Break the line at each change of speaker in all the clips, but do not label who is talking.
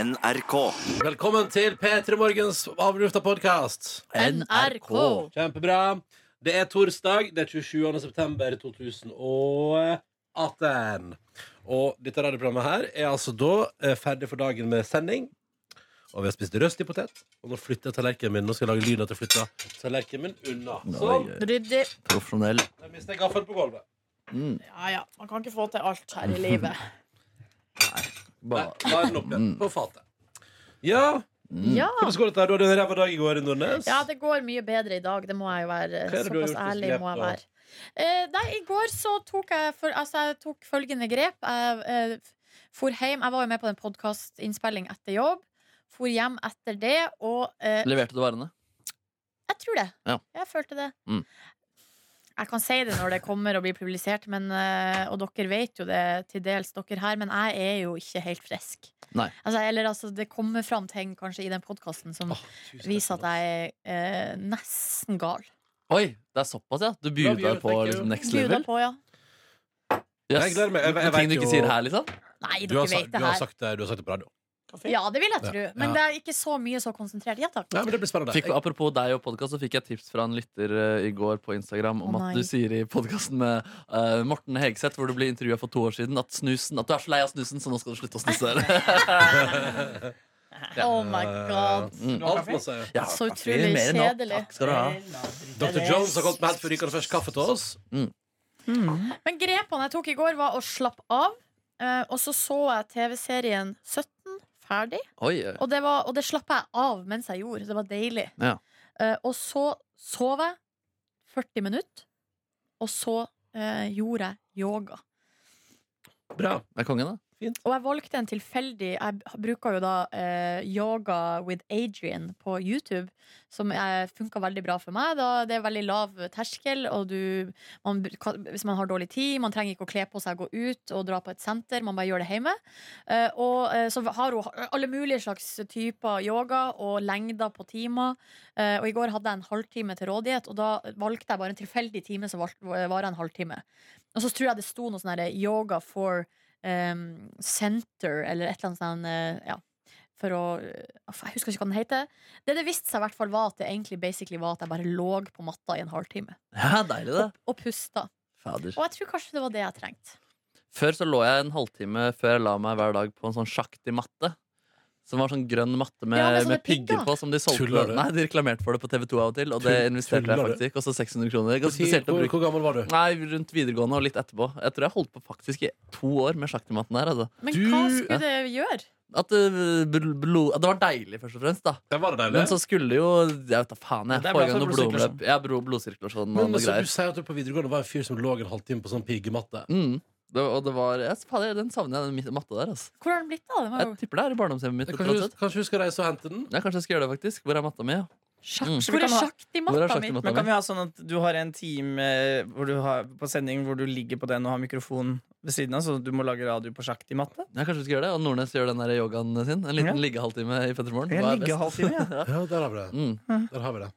NRK.
Velkommen til P3 Morgens avlufta podkast.
NRK.
Kjempebra. Det er torsdag. Det er 27. september 2018. Og dette radioprogrammet her er altså da eh, ferdig for dagen med sending. Og vi har spist røstig potet. Og nå flytter jeg tallerkenen min. Nå skal jeg lage lyd at jeg flytter tallerkenen min unna. Sånn.
Ryddig.
Profesjonell.
Der mister jeg gaffelen på gulvet.
Ja, ja. Man kan ikke få til alt her i livet.
Nei,
Bare
la den opp igjen. På fatet. Ja,
Ja.
hvordan går dette? her? Du hadde en ræva dag i går, Nordnes.
ja, det går mye bedre i dag. Det må jeg jo være.
Hva er det du har
Såpass
gjort hvis du
ærlig
grep
må jeg
da?
være. Eh, nei, i går så tok jeg, for, altså, jeg tok følgende grep. Jeg eh, for hjem. Jeg var jo med på den podkastinnspilling etter jobb. For hjem etter det, og eh,
Leverte du varene?
Jeg tror det.
Ja.
Jeg følte det.
Mm.
Jeg kan si det når det kommer og blir publisert, men, eh, og dere vet jo det til dels, dere her, men jeg er jo ikke helt frisk.
Nei.
Altså, eller altså, det kommer fram ting kanskje i den podkasten som
Åh, tusen takk.
viser at jeg er eh, nesten gal.
Oi, det er såpass, ja? Du
Love you,
bjuda på
thank you.
liksom, next
Gud,
level?
på, ja.
Yes.
Jeg gleder meg. Jeg- jeg
Men
vet
ting du ikke
jo-
sier her, liksom?
Nei,
Du
dere
har, sa-
vet
du,
det
har
her.
sagt, det- du har sagt det på radio.
Ja, det vil jeg
Ja.
tro. Men
Ja.
det er ikke så mye så konsentrert. Ja takk.
Ja, men det blir spennende.
Fikk, apropos deg og podkast, så fikk jeg tips fra en lytter eh, i går på Instagram om
Å,
at
nei.
du sier i podkasten med eh, Morten Hegseth, hvor du ble intervjua for to år siden, at snusen, at du er så lei av snusen, så nå skal du slutte å snuse.
Oh my god.
Mm.
Alt må si.
Ja,
Så
takk,
utrolig
mer enn nok.
kjedelig.
Takk skal du ha.
Dr. Jones har kommet med helt forrykende fersk kaffe til oss.
Men grepene jeg tok i går, var å slappe av. eh, Og så så jeg TV-serien 17 ferdig.
Oi, eh,
Og det, var, og det slapp jeg av mens jeg gjorde. Det var deilig.
Ja.
Eh, og så sov jeg 40 minutter, og så eh, gjorde jeg yoga.
Bra.
det er kongen, da.
Og jeg valgte en tilfeldig Jeg b- bruker jo da eh, Yoga with Adrian på YouTube, som eh, funka veldig bra for meg. Da, det er veldig lav terskel, og du, man, br- kan, hvis man har dårlig tid Man trenger ikke å kle på seg, gå ut og dra på et senter. Man bare gjør det hjemme. Eh, og eh, så har hun ha- alle mulige slags typer yoga og lengder på timer. Eh, og i går hadde jeg en halvtime til rådighet, og da valgte jeg bare en tilfeldig time som val- varer en halvtime. Og så tror jeg det sto noe sånn her yoga for um, Center eller et eller annet sånn eh, ja, For å Aff, Jeg husker ikke hva den heter. Det det viste seg i hvert fall var at det egentlig basically var at jeg bare lå på matta i en halvtime
Ja, deilig, det.
og, og pusta.
Fader.
Og jeg tror kanskje det var det jeg trengte.
Før så lå jeg en halvtime før jeg la meg hver dag på en sånn sjaktig matte. Som var sånn grønn matte med,
Ja, med
med,
sånne
pigger
pigger.
på. Som de solgte
Tuller du?
Nei, de reklamerte for det på TV2 av og til, og det
Tull-
investerte jeg
tuller du?
faktisk. Kosta 600 kroner.
Hvor,
Ganske spesielt å bruke.
hvor gammel var du?
Nei, rundt videregående og litt etterpå. Jeg tror jeg holdt på faktisk i to år med sjaktimatten her. Altså.
Men
Du-
hva skulle det gjøre?
At det, bl- blo- at det var deilig, først og fremst. da
Det var det deilig.
Men så skulle jo Jeg vet da faen, jeg.
Det
Får i
er bra
gang
for
noe
blodsirkulasjon.
blodomløp. Ja, bro- blodsirkulasjon og
Men
noe
så du
greier.
sier at du på videregående var en fyr som lå en halvtime på sånn piggematte.
Mm. Det, og det var jeg, faen, jeg- Den savner jeg, den mitt- matta der. Altså.
Hvor har den blitt av? Den var
Jeg
jo
tipper det er i barndomshjemmet mitt. et eller annet
Kanskje,
sted.
kanskje du skal reise og hente den?
Ja, kanskje jeg skal gjøre det, faktisk. Hvor er matta mi? ja?
sjakk.
Mm.
Så vi
Hvor
kan
er
ha-
sjakk i
Hvor er
matta mi?
sjakkmatta
Men kan
mi?
vi ha sånn at du har en time eh, hvor du har, på sending hvor du ligger på den og har mikrofon ved siden av, så du må lage radio på sjakk i matte?
Ja, kanskje vi skal gjøre det, Og Nordnes gjør den der yogaen sin. En liten liggehalvtime i Petremorgen.
Jeg
Hva er
ligger
best?
halvtime, ja.
Ja, der har vi det.
Mm.
Der har vi det.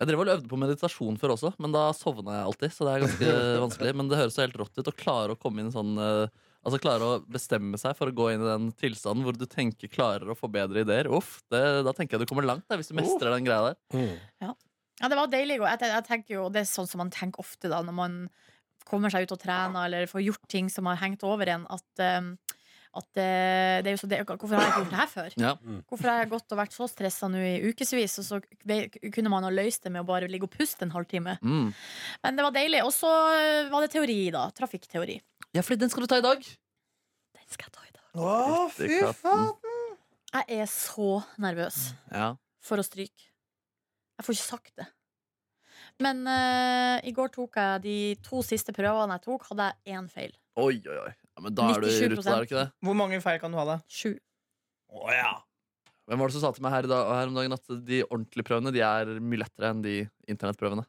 Jeg drev og øvde på meditasjon før også, men da sovna jeg alltid. Så det er ganske vanskelig Men det høres jo helt rått ut å klare å komme inn i sånn eh, Altså klare å bestemme seg for å gå inn i den tilstanden hvor du tenker klarer å få bedre ideer. Uff, det, Da tenker jeg du kommer langt der, hvis du mestrer den greia der.
Mm.
Ja, det var deilig i går. Jeg, te- jeg tenker jo, det er sånn som man tenker ofte da, når man kommer seg ut og trener, eller får gjort ting som har hengt over en, at, um, at eh, det er jo så, det, hvorfor har jeg ikke gjort det her før?
Ja.
Hvorfor har jeg gått og vært så stressa nå i ukevis, og så ve- kunne man ha løst det med å bare ligge og puste en halvtime?
Mm.
Men det var deilig. Og så eh, var det teori, da. Trafikkteori.
ja, fordi den skal du ta i dag.
Den skal jeg ta i dag.
Å,
fy faen.
Jeg er så nervøs
Ja.
for å stryke. Jeg får ikke sagt det. Men eh, i går tok jeg de to siste prøvene jeg tok, hadde jeg én feil.
Oi, oi, oi. Ja, men da er du i
97%.
rute, da, er du ikke det?
Hvor mange feil kan du ha, da?
Sju.
Hvem var det som sa til meg her, i dag, her om dagen at de ordentlige prøvene de er mye lettere enn de internettprøvene?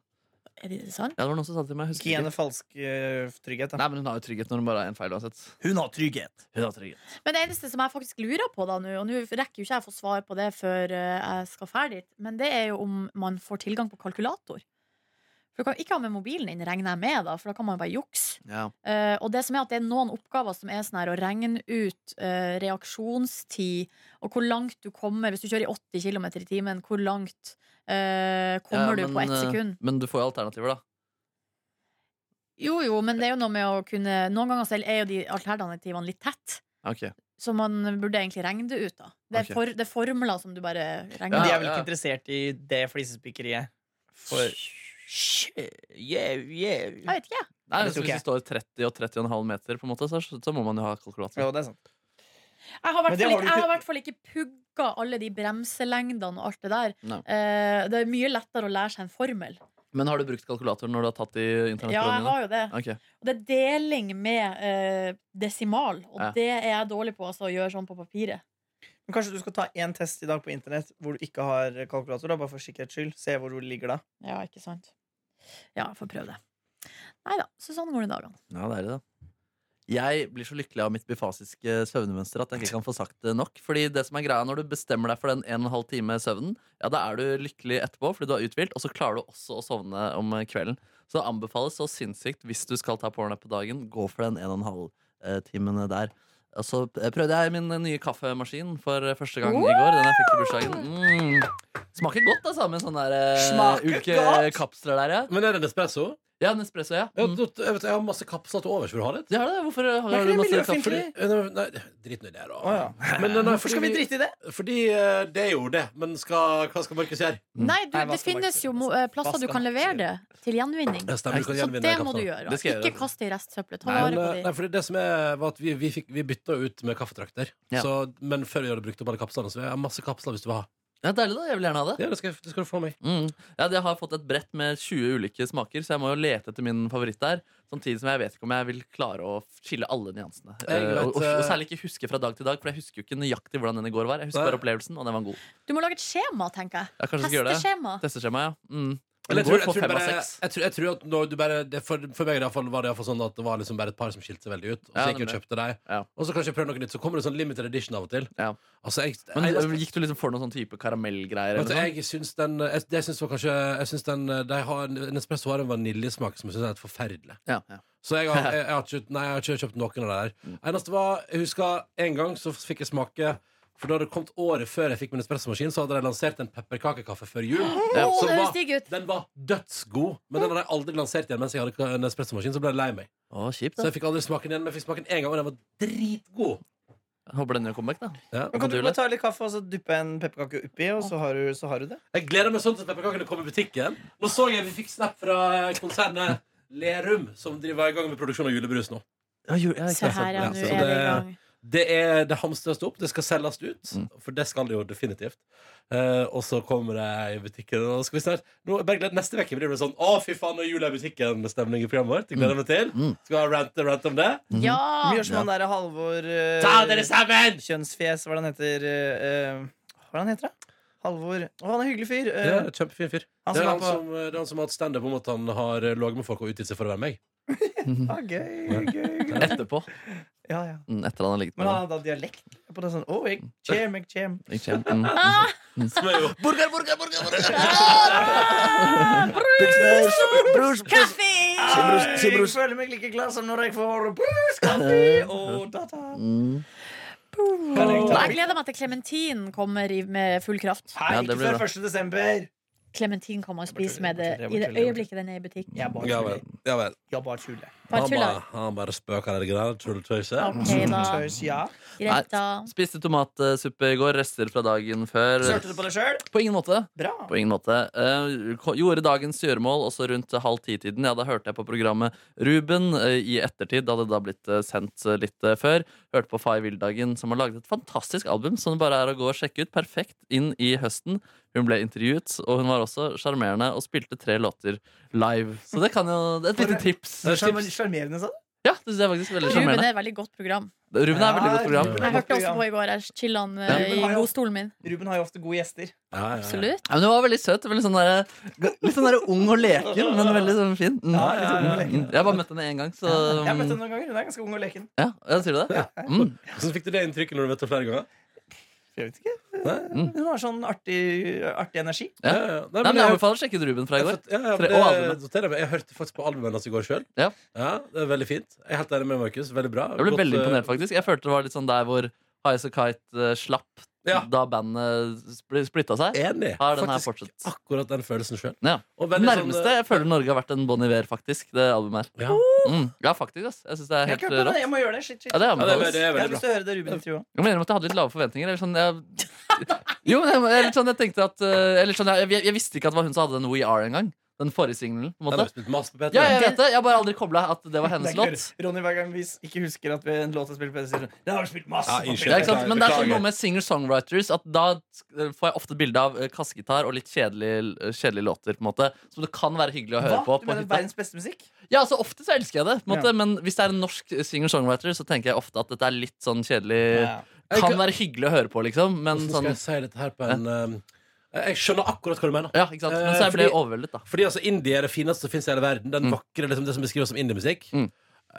Er det sant?
Ja, det var noen som sa det til meg. jeg
Ikke
Husker
en
ikke.
falsk eh, trygghet, da.
Nei, men hun har jo trygghet når hun bare er en feil uansett.
Hun har trygghet.
Hun har trygghet.
Men det eneste som jeg faktisk lurer på da nå, og nå rekker jo ikke jeg å få svar på det før eh, jeg skal ferdig, men det er jo om man får tilgang på kalkulator. For du kan ikke ha med mobilen inn, regner jeg med, da, for da kan man jo bare jukse.
Ja.
Eh, og det som er at det er noen oppgaver som er sånn her å regne ut eh, reaksjonstid og hvor langt du kommer hvis du kjører i 80 km i timen. Hvor langt eh, kommer
Ja,
du på ett
eh,
sekund?
Men du får jo alternativer, da.
Jo, jo, men det er jo noe med å kunne Noen ganger selv er jo de alternativene litt tett.
Ok.
Så man burde egentlig regne det ut, da. Det er,
Ok.
for, det er formler som du bare
Men
regner
de
Ja,
er vel
ja.
ikke interessert i det flisespikkeriet? For yeah, yeah.
Jeg vet ikke, jeg.
Nei,
Det
så
tror
Hvis
ikke
det står 30 og 30,5 meter, på en måte, så, så må man jo ha kalkulator.
Jo, det er sant.
Jeg har i
Men
hvert
det
fall
har
ikke-
du
jeg har i
ikke-
hvert fall ikke pugga alle de bremselengdene og alt det der.
Nei.
Eh, det er mye lettere å lære seg en formel.
Men har du brukt kalkulator når du har tatt de
Ja, jeg
internettprøvene?
har jo det.
Ok.
Og det er deling med eh, desimal, og
Ja.
det er jeg dårlig på, altså, å gjøre sånn på papiret.
Men kanskje du skal ta en test i dag på internett hvor du ikke har kalkulator? Da, bare for sikkerhets skyld. Se hvor du ligger da.
Ja, ikke sant? Ja, jeg får prøve det. Nei da, så sånn går det dagene.
Ja, det er det, da. Jeg blir så lykkelig av mitt bifasiske søvnmønster at jeg ikke kan få sagt det nok. Fordi det som er greia når du bestemmer deg for den 1 12 time søvnen, ja, da er du lykkelig etterpå fordi du er uthvilt, og så klarer du også å sovne om kvelden. Så det anbefales så sinnssykt hvis du skal ta porno på dagen, gå for den 1 12 timen eh, der. Og så eh, prøvde jeg min nye kaffemaskin for eh, første gang i går. Den jeg fikk til bursdagen. Mm. Smaker godt, altså, med sånne der, eh,
Smaker
ulike
godt!
kapsler der, ja.
Men er det en espresso?
Ja, Nespresso, ja.
Ja,
Mm.
da- jeg, vet, jeg har masse kapsler til overs. Vil du ha litt?
Det er det. Hvorfor
Det
har
er
du
ikke
masse
miljøfiendtlig.
kapsler?
Fordi- eh, Nei, nei, drit nå i det, da.
Å, ja.
Men, nei,
Hvorfor skal vi
fordi-
drite i det?
Fordi eh, det er jo det. Men skal, hva skal Markus gjøre?
Mm.
Nei, du, det
Nei, hva skal man
finnes
ikke-
jo mo- eh, plasser du
skal
kan
man ikke
levere det til gjenvinning.
Ja, stemmer, du kan
Så
gjenvinne
det må
kapslene.
du gjøre.
Det skal jeg
Ikke
gjøre.
kast det i restsøppelet. Ta
Nei,
vare
Men,
på
eh,
de.
nei, fordi det som er, var at vi, vi, fikk, vi bytta ut med kaffetrakter.
Ja.
Så, men før vi hadde brukt opp alle kapslene. Så vi har masse kapsler hvis du vil ha.
Ja, Deilig, da. Jeg vil gjerne ha det.
Ja, det skal, jeg- det skal du få av meg.
Mm. Ja, jeg har fått et brett med 20 ulike smaker, så jeg må jo lete etter min favoritt der. Samtidig som jeg vet ikke om jeg vil klare å skille alle nyansene.
Jeg
Eh,
vet,
og, og,
eh,
og særlig ikke huske fra dag til dag, for jeg husker jo ikke nøyaktig hvordan den i går var. Jeg husker
Nei.
bare opplevelsen, og den var god.
Du må lage et skjema, tenker jeg.
Jeg kanskje skal gjøre det.
Hesteskjema.
Testeskjema, ja. Mm.
Eller
Men
jeg
i går
tror, jeg,
får
tror
fem av
bare,
seks.
jeg, tror, jeg tror at når du bare det, for, for meg i hvert fall var det i hvert fall sånn at det var liksom bare et par som skilte seg veldig ut. Og så
Ja,
gikk jeg og
nemlig.
kjøpte deg.
Ja.
Og så kanskje jeg prøver noe nytt. Så kommer det sånn limited edition av og til.
Ja.
Altså, jeg,
Men
jeg,
eh, Gikk du liksom for noen sånn type karamellgreier?
Vet
Eller noe
du,
sånt?
jeg syns den jeg, det syns var kanskje jeg syns den, de har, Nespresso har en vaniljesmak som jeg syns er helt forferdelig.
Ja, ja.
Så jeg har, jeg, jeg, har ikke, nei, jeg har ikke kjøpt noen av de der. Eneste var, jeg husker En gang så fikk jeg smake For da hadde det kommet året før jeg fikk min espressomaskin, så hadde de lansert en pepperkakekaffe før jul.
Ja,
Å,
som
det
var-
høres digg ut!
Den var dødsgod, men den hadde jeg aldri lansert igjen mens jeg hadde en espressomaskin. Så ble jeg lei meg.
Å, kjipt,
Så
da.
jeg fikk aldri smaken igjen, men jeg fikk smaken én gang, og den var dritgod.
Jeg Håper den gjør comeback, da.
Ja.
Men kan du bare ta litt kaffe og så duppe en pepperkake oppi, og så har du, så har du det?
Jeg gleder meg sånn til pepperkakene kommer i butikken. Nå så jeg vi fikk snap fra konsernet Lerum, som driver i gang med produksjon av julebrus nå.
Ja, jul- ja, ikke
Se
sant.
her, ja.
Ja,
Nå
så
så-
er det i
det-
gang.
Det er det hamstres opp, det skal selges ut.
Mm.
For det skal det jo definitivt. Eh, og så kommer det i butikken. Og nå skal vi snart nå, jeg bare gleder, Neste uke blir det sånn Å, fy faen, nå er jula i butikken-stemning i programmet vårt. Jeg gleder meg til.
Mm.
Skal ha rant, rant om det.
Ja!
Vi gjør som han derre Halvor eh,
Ta dere sammen!
Kjønnsfjes, hva er det han heter eh, eh, Hva er det han heter, da? Halvor Å, han er en hyggelig fyr. eh,
Ja, kjempefin fyr.
han
Det
som
er
var
han
på
som, det er han som har hatt standup om at han har ligget med folk og utgitt seg for å være meg.
ah, Gøy, gøy, gøy.
Etterpå.
Ja, ja.
Mm, Etter han har ligget
Men
med
han hadde dialekt på det sånn oh, jeg kjem, jeg kjem.
den. Ikke sant? Mm.
Som er jo
Burger, burger, burger, burger!
Ah,
Brus, brus, brus.
Kaffe!
Sibrus,
Jeg
sibrus.
føler meg like glad som når jeg får brus, kaffe og data.
Mm.
Jeg gleder meg til klementin kommer i, med full kraft.
Hei,
Ja, det
ikke
blir
før
bra.
1. desember.
Klementin kan man spise med det i det øyeblikket den er i butikk.
Jeg bare
Ja
tuller.
vel. Ja, vel.
Jeg bare tuller.
Bare
Han
tuller.
bare, han bare spøker eller greier. Tulltøyse.
Ok, da.
Tøys, ja.
Greit, da.
Spiste tomatsuppe i går, rester fra dagen før.
Sørte du på deg sjøl?
På ingen måte.
Bra.
På ingen måte. Eh, ko- gjorde dagens gjøremål også rundt halv ti-tiden. Ja, da hørte jeg på programmet Ruben eh, i ettertid. Det hadde da blitt eh, sendt eh, litt eh, før. Hørte på Fay Wildagen, som har laget et fantastisk album som det bare er å gå og sjekke ut. Perfekt inn i høsten. Hun ble intervjuet, og hun var også sjarmerende og spilte tre låter live. Så det kan jo det er Et lite tips.
Det er et tips.
Sjarmerende, sånn. sa du?
Ja, det synes jeg er faktisk veldig
Ruben
sjarmerende.
er et veldig godt program.
Ruben er et veldig godt program.
Jeg hørte også på i går. Jeg chilla han eh,
Ruben har
i
jo-
godstolen min.
Ruben har jo ofte gode gjester.
Ja, ja, ja.
Absolutt.
Ja, men det var veldig søt. Veldig sånn der, litt sånn der ung og leken, men veldig sånn fin. Mm.
Ja, ja, ja, ja.
Mm. Jeg har bare møtt henne én gang, så
Jeg har møtt henne noen ganger. Hun er ganske ung og leken.
Ja, ja, sier du det? Mm.
Hvordan fikk du det inntrykket når du møtte henne flere ganger?
Jeg vet ikke.
Nei,
Hun har sånn artig, artig energi.
ja, ja. Nei,
Nei,
men
men jeg
jeg,
anbefaler å sjekke ut Ruben fra i går.
Ja, ja,
Tre-
men det,
og albumet.
noterer jeg meg. jeg hørte faktisk på albumet hans i går sjøl.
Ja.
det er veldig fint. Jeg er helt enig med Markus. Veldig bra.
Jeg ble
Godt,
veldig
eh,
imponert, faktisk. Jeg følte det var litt sånn der hvor Highas and Kite eh, slapp
Ja.
da bandet spl- splitta seg.
Enig.
Har den her
Faktisk
fortsatt.
Akkurat den følelsen sjøl.
Ja. Nærmeste jeg føler Norge har vært en Bon Iver, faktisk. Det albumet her.
sånn, eh, ja.
Mm. Ja, faktisk. ass. Jeg syns det er
Jeg,
helt
har ikke
eh,
hørt på det.
rått.
jeg må gjøre det. Shit, shit.
Ja, det
Ja, det, er,
anbefales.
det er
jeg har
veldig
lyst
bra.
til å høre det Ruben intervjua.
Jeg mener at jeg hadde litt lave forventninger. Eller sånn, jeg, jo, men jeg, eller sånn, jeg tenkte at eh, eller sånn, jeg, jeg, jeg visste ikke at det var hun som hadde den We Are engang. Den forrige singelen. på en
Den
måte.
har spilt masse på P3.
Ja, jeg vet det. Jeg har bare aldri kobla at det var hennes
Det er ikke-
låt.
Ronny, hver gang vi s- ikke husker at vi en låt har spilt på det, sier hun Den har vi spilt masse!
Ja,
på."
unnskyld.
Ja, ikke sant? Men det er sånn
Beklager.
noe med singer-songwriters at da eh, får jeg ofte bilde av eh, kassegitar og litt kjedelige, eh, kjedelige låter. på en måte Som det kan være hyggelig å høre
Hva?
på.
Du
på
mener
hytta.
verdens beste musikk?
Ja, altså Ofte så elsker jeg det, på en måte
Ja.
men hvis det er en norsk eh, singer-songwriter, så tenker jeg ofte at dette er litt sånn kjedelig.
Jeg
Kan
kan-
være hyggelig å høre på, liksom. Men
Hvordan skal
sånn,
jeg si dette her på en eh, Jeg skjønner akkurat hva du mener.
ja, ikke sant? Men
Eh,
så jeg ble
fordi-
overveldet, da.
Fordi altså, indie er det fineste som finnes i hele verden. Den
Mm.
vakre, liksom, Det som beskrives som indiemusikk.
Mm.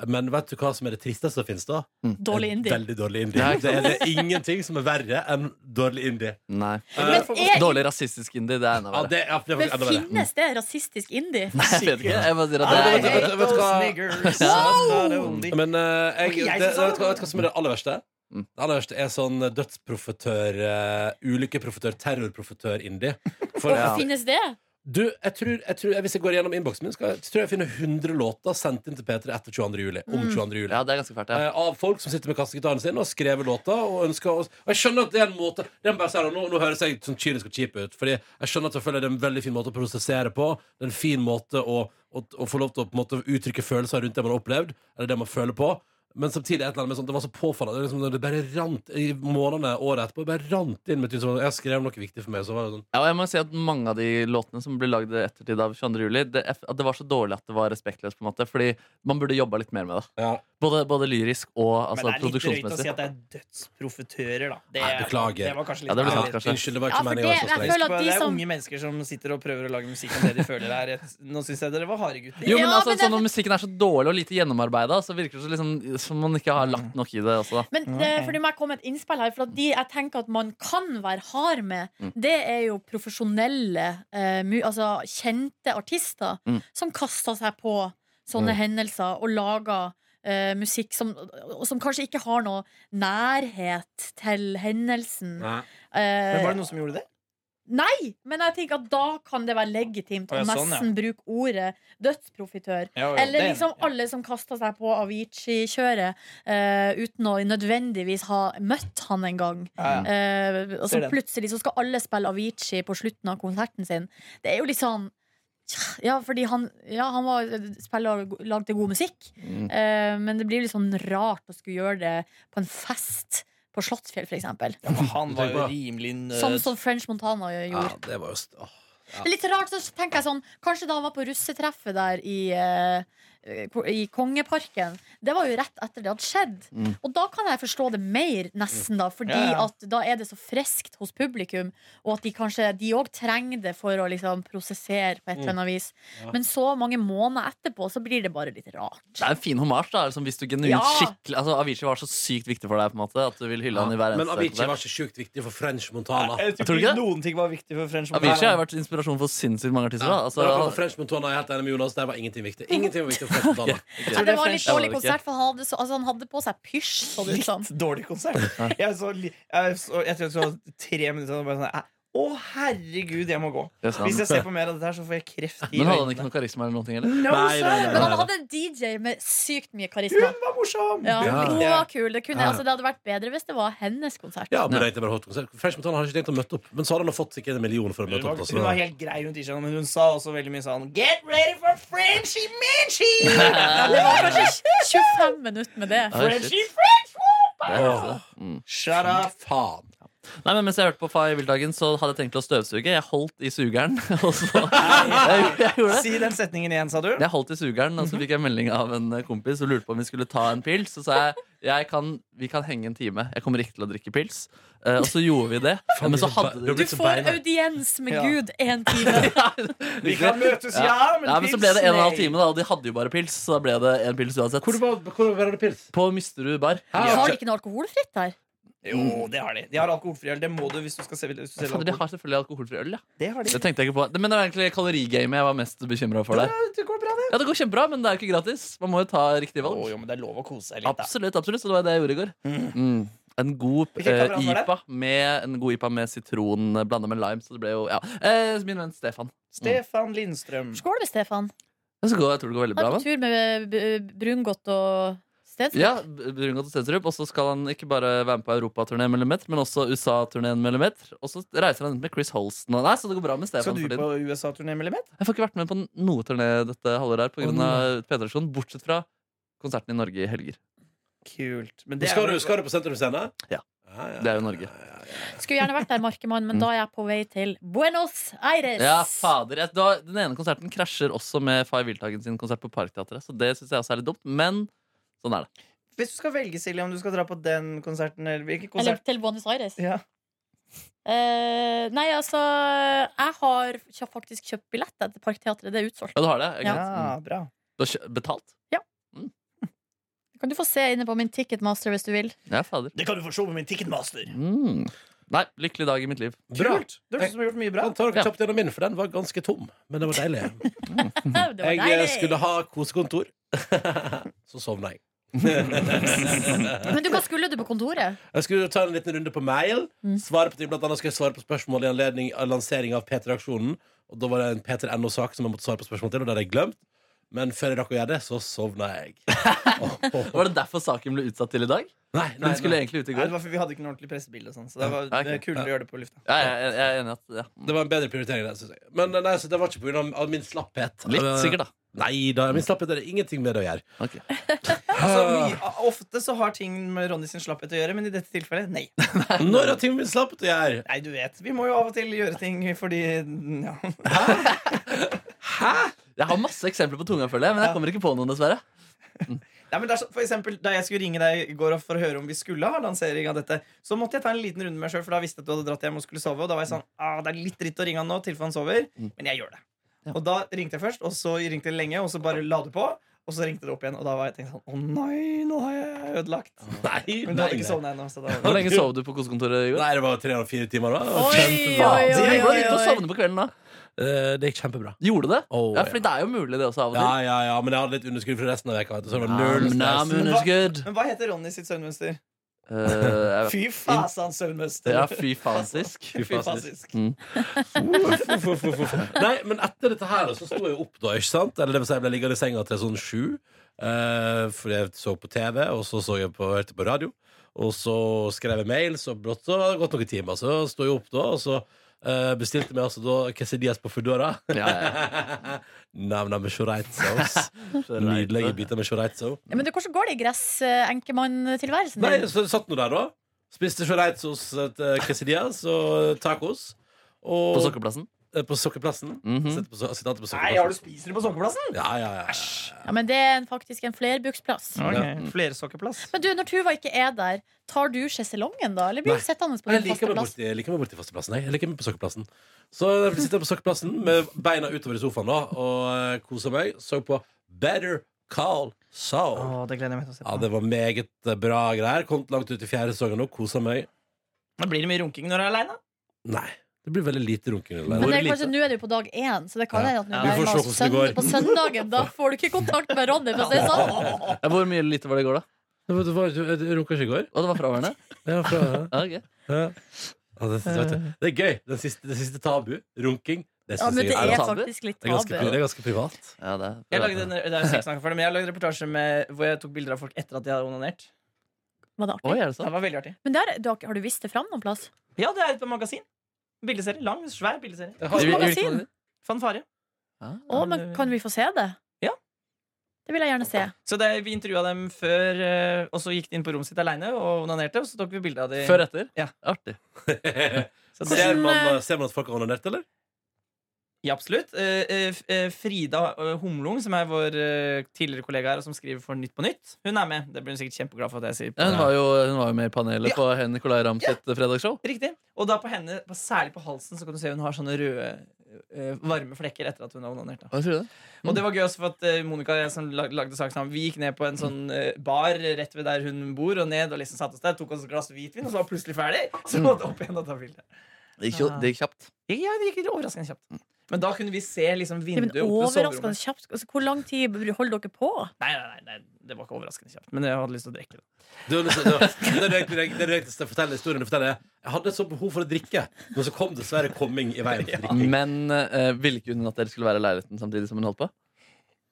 Men vet du hva som er det tristeste som finnes da?
Dårlig indie.
Veldig dårlig indie.
Ja, ikke
det, er, det er ingenting som er verre enn dårlig indie.
Nei.
Eh,
Men er,
Dårlig rasistisk indie, det er enda
ja,
verre.
det, ja, det er
men
faktisk enda verre.
finnes det rasistisk indie?
Nei, jeg vet ikke. Jeg bare sier at
I
vet
det er
du- vet
hate
du- vet du
those
hva-
niggers.
Wow!
Da er det only.
Men eh, jeg,
Det var ikke jeg
det,
som sa
vet,
det.
du hva- vet du hva som er det aller verste?
Mm.
Det aller verste er sånn dødsprofitør, eh, ulykkeprofitør, terrorprofitør-indie. For
Ja.
Finnes det?
Du, jeg tror, jeg tror, Hvis jeg går gjennom innboksen min, skal, jeg- tror jeg jeg finner 100 låter sendt inn til P3 etter 22. juli. Om 22. juli.
Ja, det er ganske fælt, ja.
Eh, Av folk som sitter med kassegitaren sin og har skrevet låter. Og, ønsker, å- og jeg skjønner at det er en måte det er bare å si det, nå, nå høres jeg sånn kynisk og kjip ut. Fordi jeg skjønner at selvfølgelig er det en veldig fin måte å prosessere på. Det er en fin måte å, å, å få lov til å på en måte, uttrykke følelser rundt det man har opplevd, eller det man føler på. Men samtidig er det et eller annet med sånn, det var så påfallende. Det, er liksom, det bare rant i månedene året etterpå. Det bare rant inn med ting som Jeg skrev noe viktig for meg. Så var det sånn
ja. Og jeg må si at mange av de låtene som ble lagd i ettertid av 22. juli, det, at det var så dårlig at det var respektløst, på en måte. Fordi man burde jobba litt mer med det.
ja.
Både, både lyrisk og altså,
Men det er litt drøyt å si
produksjonsmessig.
at det er dødsprofitører, da. Det,
Nei, beklager.
det var kanskje litt
Ja, det sånn- blir sant,
ærlig.
kanskje.
Unnskyld, det var ikke
Ja, for
meningen å være
det-
så
jeg
streng.
føler at
Husk på,
de
det er
som-
unge mennesker som sitter og prøver å lage musikk om det de føler er et- Nå syns jeg dere var harde gutter.
Jo, men
Ja,
altså,
men det er
sånn, Når musikken er så dårlig og lite gjennomarbeida, så virker det så liksom, som om man ikke har lagt nok i det. Også, da.
Men det, for det må jeg komme med et innspill her. For at de jeg tenker at man kan være hard med,
Mm.
det er jo profesjonelle, eh, mu, altså kjente artister
Mm.
som kaster seg på sånne hendelser og lager eh, musikk som, og som kanskje ikke har noe nærhet til hendelsen.
Nei.
Eh,
Men var det noen som gjorde det?
Nei, men jeg tenker at da kan det være legitimt å
Å ja, sånn, ja.
nesten bruke ordet dødsprofitør. Eller liksom alle som kasta seg på Avicii-kjøret eh, uten å nødvendigvis ha møtt han en gang.
Ja, ja.
Eh, og så
Ser den.
plutselig så skal alle spille Avicii på slutten av konserten sin. Det er jo litt sånn Ja, fordi han, ja, han var spiller og lagde god musikk,
Mm.
eh, men det blir litt sånn rart å skulle gjøre det på en fest på Slottsfjell, for eksempel.
Ja, eh, men han var jo
Tenk på-
rimelig nød.
Sånn som French Montana gjorde.
Ja, det var jo st- åh.
Det er Litt rart, så tenker jeg sånn Kanskje da han var på russetreffet der i, eh, ko- i Kongeparken Det var jo rett etter det hadde skjedd
Mm.
Og da kan jeg forstå det mer nesten da Fordi
Ja, ja.
at da er det så freskt hos publikum Og at de kanskje De også trenger det for å liksom prosessere På et eller
Mm.
annet vis
Ja.
Men så mange måneder etterpå så blir det bare litt rart
Det er en fin hommage. da liksom, Hvis du genuint
Ja.
skikkelig altså, Avicii var så sykt viktig for deg på en måte at du vil hylle han i hver
Men
eneste
Avicii
konsert.
var ikke sjukt viktig for French Montana.
Jeg
tror
tror
ikke
ikke
det.
noen ting var viktig for French
Avicii har jo vært inspirasjon for sinnssykt mange artister. Da. Altså,
Men akkurat for French Montana er jeg helt enig med Jonas. Der var ingenting viktig. Ingenting var viktig for French Montana.
Nei,
French- Ja,
Det var en litt dårlig
det er
det var det ikke.
konsert For han hadde, så, altså, han hadde på seg pysj Så det ut som
Litt dårlig konsert. Jeg, så, li- jeg, så, jeg tror jeg så tre minutter og bare sånn "Æ, Å, herregud, jeg må gå.
Yes, han-
Hvis jeg ser på mer av dette, her, så får jeg kreft i
Men hadde han ikke noe karisma eller noen ting? Eller?
No,
Nei, nei, nei,
sir!
Men han hadde en DJ med sykt mye karisma
Hun var morsom!
Ja,
Ja.
hun var kul. Det, kunne,
Ja.
altså, det hadde vært bedre hvis det var hennes konsert.
Ja, men det er bare hot konsert. French Montana har ikke tenkt å møte opp. Men så har han fått sikkert en million for å
Hun
møte
var,
opp. da,
altså.
hun var
så-
helt grei, hun tirsdagen, men hun sa også veldig mye sånn Get ready for Frenchy Minchy!
Det var kanskje 25 minutter med det.
Oi, shit.
Frenchy
Det er heftig, det. Mm.
Shut up!
Faen.
Nei, men Mens jeg hørte på Fay Wildhagen, så hadde jeg tenkt til å støvsuge. Jeg holdt i sugeren. Og så, jeg, jeg gjorde det.
Si den setningen igjen, sa du.
Jeg holdt i sugeren, og så fikk jeg melding av en eh, kompis og lurte på om vi skulle ta en pils. Så sa jeg jeg kan, vi kan henge en time. Jeg kommer ikke til å drikke pils. Eh, og så gjorde vi det. Men så hadde det
Du har
Du
blitt så
får
beina.
audiens med
Ja.
Gud én time.
Vi kan møtes, ja, men
ja, men så
pils,
ble det en og en halv
nei.
time, da, og de hadde jo bare pils. Så da ble det en pils uansett.
Hvor var hvor var det pils?
På Mysterud bar.
Hæ?
Har de ikke noe alkoholfritt der?
Jo, det har de. De har alkoholfri øl. Det må du hvis du skal se hvis du selger
Fader, de
alkohol.
har selvfølgelig alkoholfri øl, ja.
Det har de.
Det tenkte jeg ikke på. Men det var egentlig kalorigamet jeg var mest bekymra for der.
Ja, det går bra, det.
Ja, det går kjempebra, men det er jo ikke gratis. Man må jo ta riktig
Å,
valg.
jo, men det er lov å kose seg litt, da.
Absolutt, absolutt. Så det var det jeg gjorde i går. Mm. En god
Hvilken
eh,
kamerat var det?
IPA med, en god IPA med sitron blanda med lime. Så det ble jo, ja eh, Min venn Stefan.
Stefan Lindstrøm.
Skål med Stefan.
Jeg, skal gå, jeg tror det går veldig
Han
bra.
er
Men.
på tur med eh, b- Brungot og Stensrud.
Ja, B- Brungot og Stensrup. Og så skal han ikke bare være med på europaturneen Millimeter, men også USA-turneen Millimeter. Og så reiser han rundt med Chris Holsten. Og nei, så det går bra med
Skal
Stefan.
du
for tiden.
på USA-turné, Millimet?
Jeg får ikke vært med på noe turné dette halvåret her på grunn av P-tradisjonen, bortsett fra konserten i Norge i helger.
Kult. Men det
skal,
er
du, skal du på Sentrum Scene?
Ja.
Ja, ja,
Det er jo Norge.
ja, ja.
Skulle gjerne vært der, Markemann, men da er jeg på vei til Buenos Aires.
Ja, fader. Jeg, da, den ene konserten krasjer også med Fay Wiltagen sin konsert på Parkteatret, så det syns jeg også er litt dumt, men sånn er det.
Hvis du skal velge, Silje, om du skal dra på den konserten eller hvilken
Eller
konsert
til Buenos Aires.
ja.
Eh, nei, altså Jeg har kjø- faktisk kjøpt billett der til Parkteatret. Det er utsolgt.
Ja, du har det? Ikke
ja,
sant? Mm.
bra.
Du har kjø- betalt?
Det kan du få se inne på min Ticketmaster hvis du vil.
Ja, fader.
Det kan du få se med min ticketmaster.
Mm. Nei, lykkelig dag i mitt liv.
Bra.
Kult! Du høres ut som du har gjort mye bra.
Han tar dere
Ja.
kjapt gjennom min, for den var ganske tom. Men det var deilig.
Det var
Jeg eh,
deilig.
skulle ha kosekontor. Så sovna jeg.
Men du, hva skulle du på kontoret?
Jeg skulle ta en liten runde på mail.
Mm.
Svare på ting, blant annet skal jeg svare på spørsmål i anledning av lansering av P3-aksjonen. Og da var det en P3NO-sak som jeg måtte svare på spørsmål til, og det hadde jeg glemt. Men før jeg rakk å gjøre det, så sovna jeg. Åh, åh, åh.
Var det derfor saken ble utsatt til i dag?
Nei, nei,
Den skulle
nei.
egentlig ut i
Nei, det
går.
var fordi vi hadde ikke noe ordentlig pressebilde, og sånn, så det var
Ja, ok.
det er kulere å gjøre det på lufta.
Ja, jeg, jeg er enig i at ja.
Det var en bedre prioritering, det, synes jeg. Men eh, nei, så det var ikke på grunn av min slapphet.
Litt sikkert, da.
Nei da, min slapphet er det ingenting med det å gjøre.
Ok.
Altså,
Øh.
mye, ofte så har ting med Ronny sin slapphet å gjøre, men i dette tilfellet nei.
Ah.
Når har ting min slapphet å gjøre?
Nei, du vet. Vi må jo av og til gjøre ting fordi ja.
Jeg har masse eksempler på tunga, føler jeg, men jeg kommer ikke på noen, dessverre.
Nei, men det er så, for eksempel, Da jeg skulle ringe deg i går for å høre om vi skulle ha lansering av dette, så måtte jeg ta en liten runde med meg sjøl, for da visste jeg at du hadde dratt hjem og skulle sove. Og da var jeg
Mm.
sånn, ah, det er litt dritt å ringe han nå, til for han sover, men jeg gjør det. Og da ringte jeg først, og så ringte jeg lenge, og så bare la du på. Og så ringte det opp igjen, og da var jeg tenkt sånn Å nei, nå har jeg ødelagt.
Nei,
Men
nei,
du hadde ikke sånn.
nei.
sovna ennå. Så da
Hvor lenge sov du på kosekontoret i går?
Nei, det var tre og fire timer. Da. Det var
Oi,
kjempebra.
oi,
Det
oi,
går
oi,
litt å
oi.
sovne på kvelden da.
Eh, det gikk kjempebra.
Gjorde det?
Å,
ja, fordi det er jo mulig det også av og
Ja,
til.
ja, ja, men jeg hadde litt underskudd fra resten av veka. vet du, Så det var null
Nam, nam,
stress.
underskudd.
Men hva heter Ronny sitt søvnmønster?
Eh, jeg vet-
Fy fasan, søvnmønster!
Ja, fy fasisk.
Fy fasisk.
Uff, uff, uff, uff. Nei, men etter dette her da, så sto jeg jo opp da, ikke sant? Eller det vil si, jeg ble liggende i senga til sånn sju. eh, fordi jeg så på TV, og så så jeg på, hørte på radio. Og så skrev jeg mail, så brått så hadde det gått noen timer. Så sto jeg opp da, og så eh, bestilte jeg meg altså da quesadillas på Foodora.
Ja, ja.
Navnet med chorizo. Nydelige biter med chorizo.
Ja, men du, Hvordan går det i gress-enkemann-tilværelsen
Nei, altså.
din?
så satt nå der da Spiste chorizos, et, eh, quesadillas og tacos og,
På sokkeplassen.
eh, på sokkeplassen
Mhm.
Sitte på, so- sitte alltid på
Nei,
sokkeplassen
har du spiser det på sokkeplassen?
Ja, ja, ja
Ja, men Det er en- faktisk en flerbruksplass.
Okay. Flersokkeplass.
Men du, Når Tuva ikke er der, tar du sjeselongen da? Eller blir
Nei.
du sittende på
Men
din
jeg liker
faste
meg
plass?
borti, jeg liker meg borti fasteplassen jeg. jeg liker meg på sokkeplassen Så jeg sitter på sokkeplassen Med beina utover i sofaen da Og eh, koser meg Så på Better Call Saul
Å, det gleder jeg meg til å se
Ja,
på.
det var meget eh, bra greier Komt langt ut i fjerde sesongen nå Koser meg
Men Blir det mye runking når du er aleine?
Nei, det blir veldig lite runking eller?
Men det er kanskje, Nå er du på dag én, så det kan
Ja.
hende at nå
Ja.
Vi får
nærmer
se hvordan
oss
det går.
søndag- på søndagen. Da får du ikke kontakt med Ronny. For å si det sånn.
Ja, Hvor mye lite var det i går, da?
Det var- det var- Jeg runka eh, ikke i går
Å, det var fraværende?
Ja, fra
Ja, ok.
Ja. Ja, det, vet du, det er gøy. Den siste, det siste tabu, runking, det
Ja,
synes
men
jeg
det
er,
er
tabu?
faktisk litt
det er ganske, pri-
tabu.
det er ganske privat.
Ja, det
Jeg
er
lagde, en, det er jo seks snakker for det, men jeg lagde reportasje med, hvor jeg tok bilder av folk etter at de hadde onanert.
Var det
Oi, er
artig?
det
Det
sant?
var veldig artig
Men der, du har, ikke- har du vist det fram noen plass?
Ja, det er et magasin. Bildeserie. Lang, svær bildeserie.
Jeg
I- i
har,
Hvilket
hvilket
magasin?
magasin?
Fanfare.
Ah.
Å, men Kan vi få se det?
Ja.
Det vil jeg gjerne se.
Så det, vi intervjua dem før, eh, og så gikk de inn på rommet sitt aleine og onanerte. Og så tok vi bilde av dem.
Før etter?
Ja.
Artig.
Så det,
ser,
eh,
man, ser man at folk har onanert, eller?
ja, absolutt. Eh, eh, f- eh, Frida eh, Humlung, som er vår eh, tidligere kollega her, og som skriver for Nytt på Nytt, hun er med. Det blir hun sikkert kjempeglad for at jeg sier.
Ja, hun, var jo, hun var jo med i panelet på Nicolay Ramm sitt fredagsshow.
Riktig. Og da på henne, på, særlig på halsen, så kan du se hun har sånne røde eh, varme flekker etter at hun har onanert. da.
Hva tror du det?
Og det var gøy også for at eh, Monica og jeg som lag- lagde sak sammen, vi gikk ned på en sånn eh, bar rett ved der hun bor, og ned og liksom satte oss der, tok oss et glass hvitvin, og så var vi plutselig ferdig. Så
Mm.
måtte opp igjen og ta bilde.
Det gikk, jo- det gikk kjapt.
Ja, det gikk litt overraskende kjapt. Men da kunne vi se liksom
Mm. Ja, men
vinduet opp til
overraskende
soverommet.
kjapt. Altså, hvor lang tid holder dere på?
Nei, nei, nei, nei, det var ikke overraskende kjapt, men jeg hadde lyst til å drikke. det.
Det er liksom- det er- det er egentlig- det er egentlig å fortelle historien du forteller. Jeg hadde et sånt behov for å drikke, men så kom dessverre komming i veien. for drikking.
Men eh, ville ikke hun at dere skulle være i leiligheten samtidig som hun holdt på?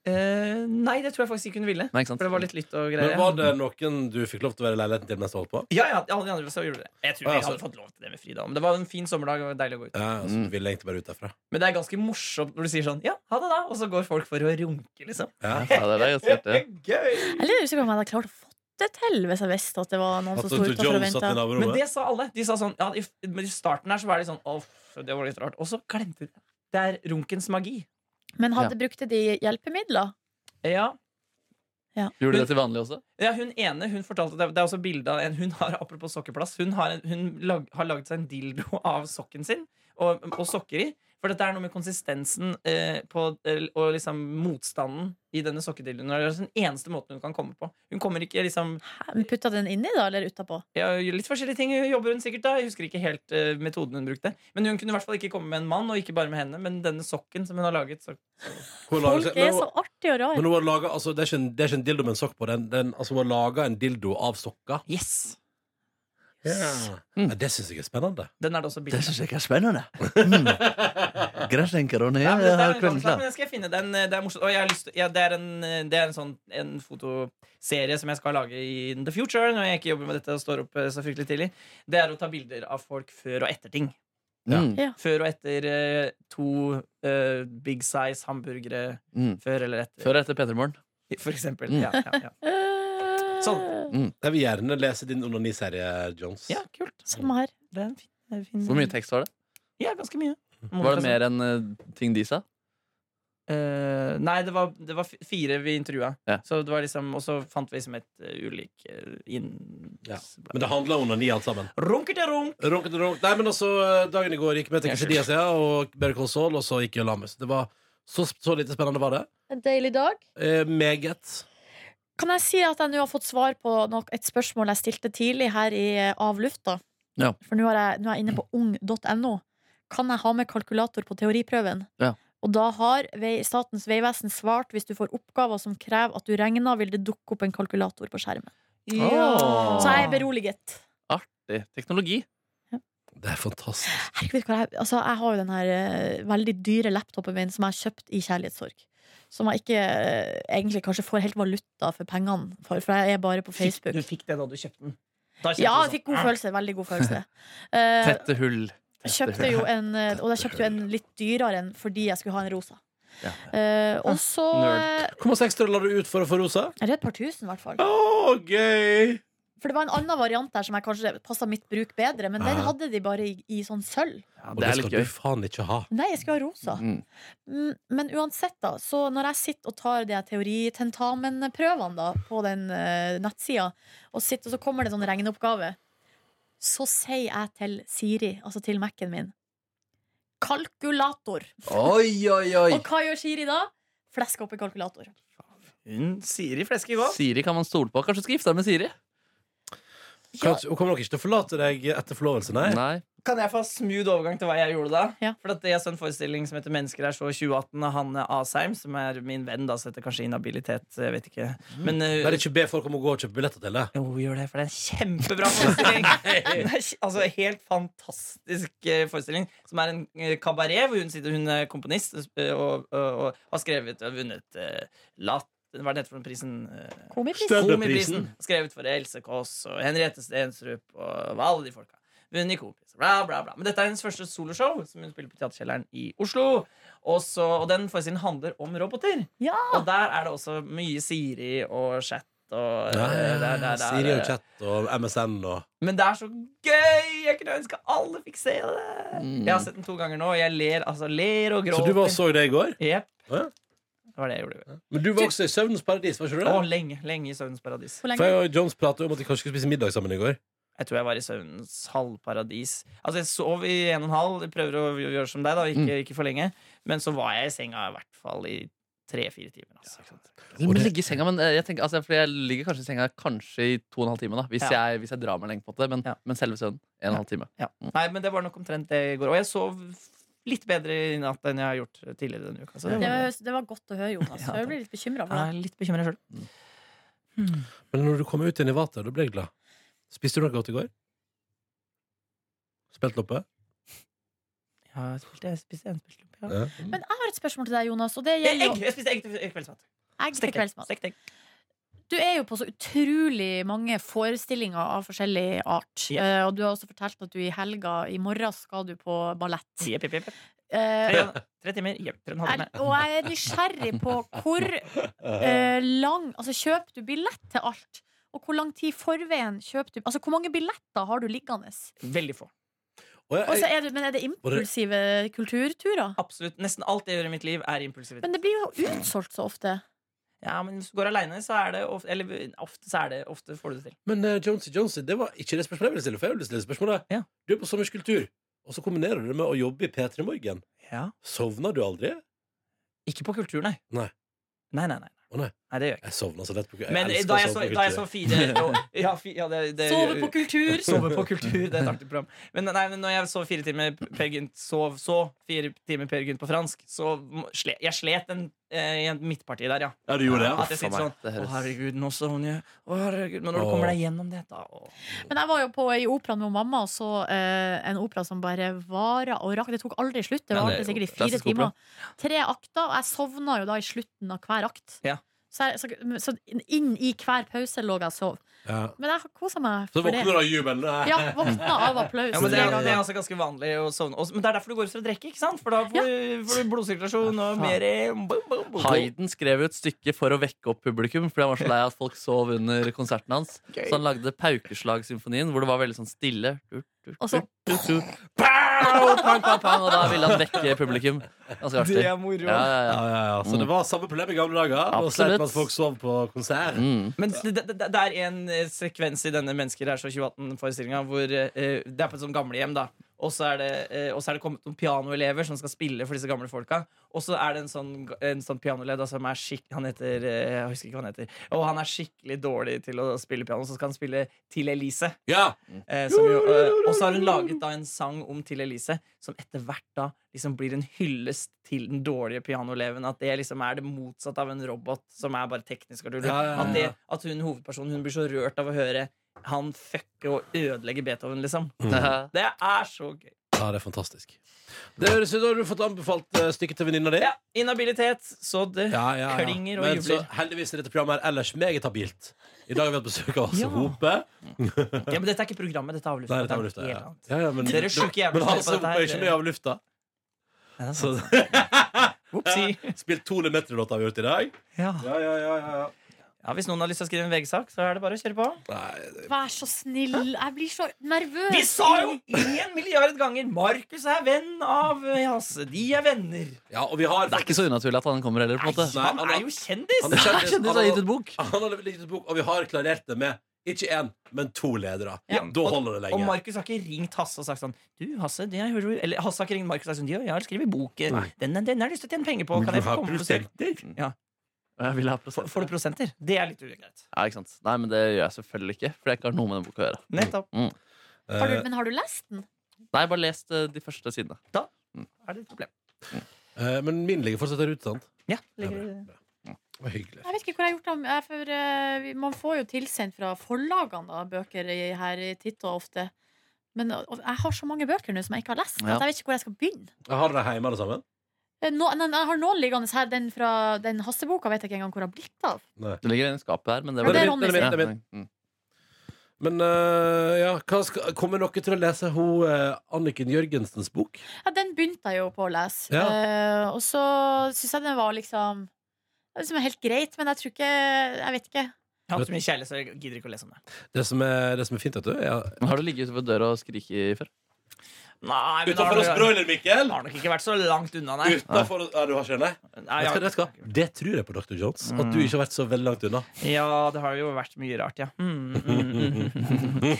Eh, nei, det tror jeg faktisk ikke hun ville.
Nei, ikke sant?
For det var litt lytt og
Men
greier.
var det noen du fikk lov til å være i leiligheten til mens du holdt på?
Ja, ja, alle de andre også gjorde det. Jeg tror
Ah, ja,
jeg hadde
så-
fått lov til det med Frida. Men det var en fin sommerdag, og det var deilig å gå ut.
Ja, altså, du ville egentlig bare ut derfra.
Men det er ganske morsomt når du sier sånn ja, ha det da, og så går folk for å runke, liksom.
Ja.
Ja, det er det, jeg ser det.
Gøy!
Jeg lurer på om jeg hadde klart å få det til hvis jeg visste at det var noen
At
som sto
Dr.
utenfor og
Jones satt i
venta.
Men
naborommet.
det sa alle. De sa sånn, ja, I f- men i starten her så var de sånn Åh, det var litt rart. Og så glemte de det. Det er runkens magi.
Men
Ja.
hadde brukte de hjelpemidler?
Ja,
Gjorde du det til vanlig også?
ja Hun ene hun fortalte det, det er også bilde av en hun har apropos sokkeplass. Hun har, en, hun lag, har lagd seg en dildo av sokken sin og, og sokker i. For dette er noe med konsistensen eh, på, eh, og liksom motstanden i denne sokkedildoen. Det er altså den eneste måten hun kan komme på. Hun kommer ikke liksom
Putta den inni, da, eller utapå?
ja, Litt forskjellige ting jobber hun sikkert da Jeg husker ikke helt eh, metoden hun brukte Men hun kunne i hvert fall ikke komme med en mann Og ikke bare med henne Men denne sokken som hun har laget så...
Hun lager
Folk
seg-
er
men
så
hun-
artige og
men
rare.
hun har laget, altså, det, er ikke en, det er ikke en dildo med en sokk på. Den, den, altså, hun har laga en dildo av sokker.
Yes
Ja.
Mm.
Ja, det syns jeg er spennende.
Den er det også bildet
jeg ikke er spennende. Mm. Gresslenkerone,
Nei, men det,
sånn
er en annen sak, men den skal jeg finne den, eh, Det er morsomt Og jeg har lyst til ja, det, er en, eh, det er en sånn En fotoserie som jeg skal lage i the future Når jeg ikke jobber med dette og står opp eh, så fryktelig tidlig Det er å ta bilder av folk før og etter ting
Mm.
Før og etter eh, to eh, big size hamburgere
Mm.
Før eller etter
Før og etter P3 Morgen.
For eksempel
Mm.
ja, ja, ja.
Eh,
Sånn.
Jeg vil gjerne lese din onaniserie, Jones.
ja, kult
Samme her.
Det er en fin, det er en fin
Hvor mye tekst var det?
Ja, ganske mye.
Var det mer enn eh, ting de sa?
Eh, nei, det var, det var fi- fire vi intervjua.
Ja.
Så det var liksom, og så fant vi liksom et eh, ulik eh, inn...
Ja. Men det handler om onani, alt sammen.
Runker til runk!
Ronk, ronk. Nei, men altså, dagen i går gikk med til Kasidia sida og Better Call Saul, og så gikk jeg og la meg. Så Det var så, så lite spennende, var det.
En deilig dag.
Eh, meget.
Kan jeg si at jeg nå har fått svar på nok et spørsmål jeg stilte tidlig her i eh, Av lufta?
Ja.
For nå er, jeg, nå er jeg inne på ung.no. Kan jeg ha med kalkulator på teoriprøven?
Ja.
Og da har vei, Statens vegvesen svart hvis du får oppgaver som krever at du regner, vil det dukke opp en kalkulator på skjermen.
Åh.
Så jeg er beroliget.
Artig. Teknologi.
Det er fantastisk.
Herregud, hva jeg, altså, jeg har jo den her eh, veldig dyre laptopen min som jeg har kjøpt i kjærlighetssorg. Som jeg ikke eh, egentlig kanskje får helt valuta for pengene for, for jeg er bare på
Fikk,
Facebook.
du fikk det da du kjøpte den? Da kjente
Ja,
du sånn,
jeg fikk god
"Ah."
følelse. Veldig god følelse. Eh,
Tette hull.
kjøpte jo en, eh, og jeg kjøpte jo en litt dyrere en fordi jeg skulle ha en rosa.
Ja.
Eh, og så eh,
Hvor mange ekstra la du ut for å få rosa?
er det et par tusen, i hvert fall.
Å, gøy!
For det var en annen variant der som jeg kanskje passa mitt bruk bedre, men den
Ja.
hadde de bare i, i sånn sølv.
Ja,
Og
det
det
er litt
skal
gøy.
du faen ikke ha.
Nei, jeg skulle ha rosa.
Mm.
Mm, Men uansett, da. Så når jeg sitter og tar de her teoritentamenprøvene da, på den uh, nettsida, og, sitter, og så kommer det sånn regneoppgave, så sier jeg til Siri, altså til Mac-en min, kalkulator.
Oi, oi, oi.
Og hva gjør Siri da? Flesker opp en kalkulator.
Hun Siri flesker godt.
Siri kan man stole på. Kanskje du skal gifte deg med Siri?
Kanskje, hun kommer nok ikke til å forlate deg etter forlovelse, nei.
Nei.
Kan jeg få smooth overgang til hva jeg gjorde da?
Ja.
For at jeg så en forestilling som heter Mennesker er så 2018 av Hanne Asheim, som er min venn, da, så heter kanskje inhabilitet, jeg vet ikke. Men
Det
eh,
er ikke be folk om å gå og kjøpe billetter til det.
Jo, gjør det, for det er en kjempebra forestilling. Den er kj- altså, Helt fantastisk eh, forestilling. Som er en eh, kabaret hvor hun sitter Hun er komponist eh, og, og, og har skrevet og vunnet eh, Lat... Hva er det heter for den prisen? Eh,
Komipris.
Stø-
Komiprisen. Skrevet for Else Kåss og Henriette Stensrup og alle de folka. Vunnet Komiprisen. Bla, bla, bla. Men dette er hennes første soloshow, som hun spiller på Teaterkjelleren i Oslo. Og, så, og den forestillingen handler om roboter.
Ja!
Og der er det også mye Siri og chat. Og, eh,
Ja, ja, ja.
der- der- der-
Siri og
eh,
chat og MSN og
men det er så gøy! Jeg kunne ønske alle fikk se det.
Mm.
Jeg har sett den to ganger nå, og jeg ler, altså, ler og
Så
gråter.
du var og så det i går?
Jep.
Ja.
Det var det jeg gjorde.
Men du var også i Søvnens paradis, var ikke du
Å,
det?
lenge. Lenge i Søvnens paradis.
Hvor
For
lenge?
jeg og Jones pratet om at vi kanskje skulle spise middag sammen i går.
Jeg tror jeg var i søvnens halvparadis. Altså, jeg sov i en og en halv. Jeg prøver å gjøre som deg, da.
Mm.
Ikke, ikke for lenge. Men så var jeg i senga i hvert fall i tre-fire timer. Altså.
Jeg må ligge i senga, men eh, jeg tenker, altså, fordi jeg ligger kanskje i senga kanskje i to og en halv time. Da, hvis,
Ja.
jeg, hvis jeg drar meg lenge, på en måte, men,
Ja.
men selve søvnen en og en halv time.
Ja. Nei, men det var nok omtrent det i går. Og jeg sov litt bedre i natt enn jeg har gjort tidligere denne uka. Så det
Det
var,
var, det var godt å høre, Jonas. Jeg blir litt bekymra for
jeg
deg.
er litt bekymra sjøl.
Men når du kom ut igjen i vater, da ble jeg glad. Spiste du noe godt i går? Spilt loppe?
Ja, jeg spilte- jeg spiste en spillklump. Ja.
Ja.
Men jeg har et spørsmål til deg, Jonas. Og det gjelder
Egg!
jo
Jeg spiste egg til kveldsmat.
egg til
Stekt egg.
kveldsmat.
Stekt egg.
Du er jo på så utrolig mange forestillinger av forskjellig art.
Ja.
Eh, og du har også fortalt at du i helga, i morgen, skal du på ballett.
Jepp, jepp, jepp.
Eh,
Tre, tre timer. Jepp, tre og en halv
er,
time.
og jeg er nysgjerrig på hvor eh, lang Altså, kjøper du billett til alt? Og hvor lang tid i forveien kjøper du Altså, hvor mange billetter har du liggende?
Veldig få.
Og jeg-
Og så er det, men er det impulsive kulturturer?
Absolutt. Nesten alt jeg gjør i mitt liv, er impulsivitet.
Men det blir jo utsolgt så ofte.
Ja, men hvis du går aleine, så er det ofte Eller ofte, så er det, ofte får du det til.
Men eh, Jonesy Jonesy, det var ikke det spørsmålet jeg ville stille. For jeg ville stille spørsmålet
Ja.
Du er på sommerskulptur, og så kombinerer du det med å jobbe i P3 Morgen.
Ja.
Sovner du aldri?
Ikke på kultur, nei.
Nei.
Nei, nei, nei.
Å, nei.
det gjør jeg ikke.
Jeg sovner så lett på
Men eh,
elsker
da
å
jeg,
sovne
så,
på
da jeg
kultur.
så fire ja, fi, ja, det, det,
Sove på kultur!
Sove på kultur, det er et artig program. Men nei, men når jeg sov fire timer Per Gynt sov så fire timer Per Gynt på fransk, så må- sle, jeg slet en, eh, i en midtparti der, ja.
Ja, du gjorde det?
At jeg
faen
sitter
meg, det
sånn Å,
høres-
herregud, nå sovner jeg. Å, herregud. Men når du kommer deg gjennom det, da å.
Men jeg var jo på i operaen med mamma og så eh, en opera som bare vara og rakk. Det tok aldri slutt. Det
Nei,
varte
det er jo
sikkert i fire
klassisk opera.
timer. Tre akter, og jeg sovna jo da i slutten av hver akt.
Ja.
Så, jeg, så, så inn i hver pause lå jeg og sov.
Ja.
Men jeg har kosa meg
Så
for det.
våkner du av jubelen. Nei.
Ja, våkna av applaus.
ja, men det,
tre
er, det er
ganger.
altså ganske vanlig å sovne. Og, men det er derfor du går ut for å drikke, ikke sant? For da får, du- får du blodsirkulasjon og mer eh, boom, boom, boom.
Hayden skrev jo et stykke for å vekke opp publikum, fordi han var så lei av at folk sov under konserten hans.
Gøy.
Så han lagde Paukeslagsymfonien, hvor det var veldig sånn stille. Du, du,
Og så-
du, du, du. Pow! Pang, pang, pang, og da ville han vekke publikum. Ganske artig.
Det er moro.
Ja, ja,
Ja,
ja.
ja, ja. Så det var samme problem i gamle dager. Nå
Absolutt.
sleit man at folk sov på konsert.
Mm.
Men det, det, det- det er en eh, sekvens i denne Mennesker er så 2018-forestillinga hvor eh, det er på et sånt gamlehjem, da. Og så er, det, eh, og så er det kommet noen pianoelever som skal spille for disse gamle folka. Og så er det en sånn, en sånn pianoleder som er skikk... Han heter eh, Jeg husker ikke hva han heter. Og han er skikkelig dårlig til å spille piano, så skal han spille Til Elise.
Ja.
Eh, som jo, eh, og så har hun laget da en sang om Til Elise, som etter hvert da liksom blir en hyllest til den dårlige pianoeleven. At det liksom er det motsatte av en robot som er bare teknisk. og tull.
Ja, ja, ja.
At, det, at hun hovedpersonen hun blir så rørt av å høre han fucke og ødelegge Beethoven, liksom.
Mm.
Det er så gøy.
ja, det er fantastisk. Det høres ut som du har fått anbefalt eh, stykket til venninna di.
Ja, inhabilitet, så det klinger og
Men så
jubler.
heldigvis er dette programmet her ellers meget habilt. I dag har vi hatt besøk av Hasse
Ja.
Hope.
Ja, men dette er ikke programmet, dette er avlufta.
Nei, dette var lufta.
Det er
Ja.
helt annet.
Ja, ja, men,
Dere er sjuke jævler
men
som hører
Hasse
på dette
Hope
her.
er ikke med av lufta.
Nei, det er
Så
sant. Whoopsie.
Spilt Tone Metro-låta vi har gjort i dag.
Ja.
Ja, ja, ja,
Ja, hvis noen har lyst til å skrive en VG-sak, så er det bare å kjøre på.
Nei,
Vær så snill. Jeg blir så nervøs.
Vi sa jo én milliard ganger Markus er venn av eh, Hasse. De er venner.
ja, og vi har
Det er ikke så unaturlig at han kommer heller, på en måte.
Nei,
Han
han
er
har-
jo kjendis!
han er kjendis.
Kjendis har gitt ut bok.
Han har levert ut bok, og vi har klarert det med ikke én, men to ledere.
Ja.
Da holder det
Og
lenge.
Markus har ikke ringt Hasse og sagt sånn Du, Hasse, det jeg hører du Eller Hasse har ikke ringt Markus og sagt sånn «Jo, Jeg har skrevet bok. Den, den, den har jeg lyst til å tjene penger på. Kan jeg få komme på besøk? Ja.
Jeg vil ha
Får-
prosent.
Får du prosenter? Det er litt ugreit.
Ja, ikke sant? Nei, men det gjør jeg selvfølgelig ikke, for jeg ikke har noe med den boka å gjøre.
Nettopp.
Har du,
Eh,
men har du lest den?
Nei, jeg har bare lest eh, de første sidene.
Er det et problem?
eh, men min ligger fortsatt der ute, sant?
Ja. Ligger,
Det var hyggelig.
Jeg vet ikke hvor jeg har gjort av jeg- for, eh, vi- Man får jo tilsendt fra forlagene da, bøker i, her i titt og ofte. Men eh, og, jeg har så mange bøker nå som jeg ikke har lest.
Ja.
At jeg vet ikke hvor jeg skal begynne.
Jeg har dere hjemme alle sammen?
Eh, Nå, nei, jeg har noen liggende her. Den fra den hasteboka vet jeg ikke engang hvor jeg har blitt av.
Nei.
Det ligger i skapet her, men det
Ja,
var
det er
Ja,
Ronny
det er min, det er
nei,
min.
mm.
Men eh, ja, hva skal, kommer dere til å lese hun eh, Anniken Jørgensens bok?
Ja, den begynte jeg jo på å lese.
Ja.
Eh, og så syns jeg den var liksom det var liksom helt greit, men jeg tror ikke Jeg vet ikke.
Jeg har hatt så mye kjærlighet, så jeg gidder ikke å lese om det.
Det som er, det som er fint, vet du er,
Men Har du ligget utenfor døra og skriket før?
Nei, men da
Utenfor oss
har det-
broiler, Mikkel!
det har nok ikke vært så langt unna, nei.
Utenfor oss, ja, du har ikke det? nei?
nei
Vet du hva,
ja,
vet du hva? Det tror jeg på Dr. Jones. At
Mm.
du ikke har vært så veldig langt unna.
ja, det har jo vært mye rart, ja. Mm, mm, mm.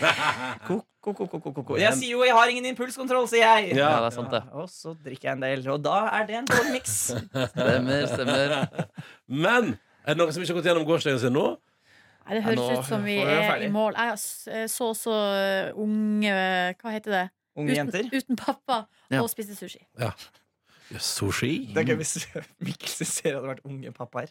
Ko, ko, ko, ko, ko, ko, ko. Jeg sier jo 'jeg har ingen impulskontroll', sier jeg.
Ja, det er sant, det.
Og så drikker jeg en del, og da er det en dårlig miks.
Stemmer, stemmer.
Men er det noen som ikke har gått gjennom gårsdagen sin nå?
Nei, det
Ja, nå
høres ut som vi
får vi være
er i
ferdig.
mål. Jeg s- eh, så så eh, unge Hva heter det?
Unge
Uten,
jenter.
uten pappa
Ja.
og spiste sushi.
Ja, Sushi?
Det er gøy hvis Mikkel ser hadde vært unge pappaer.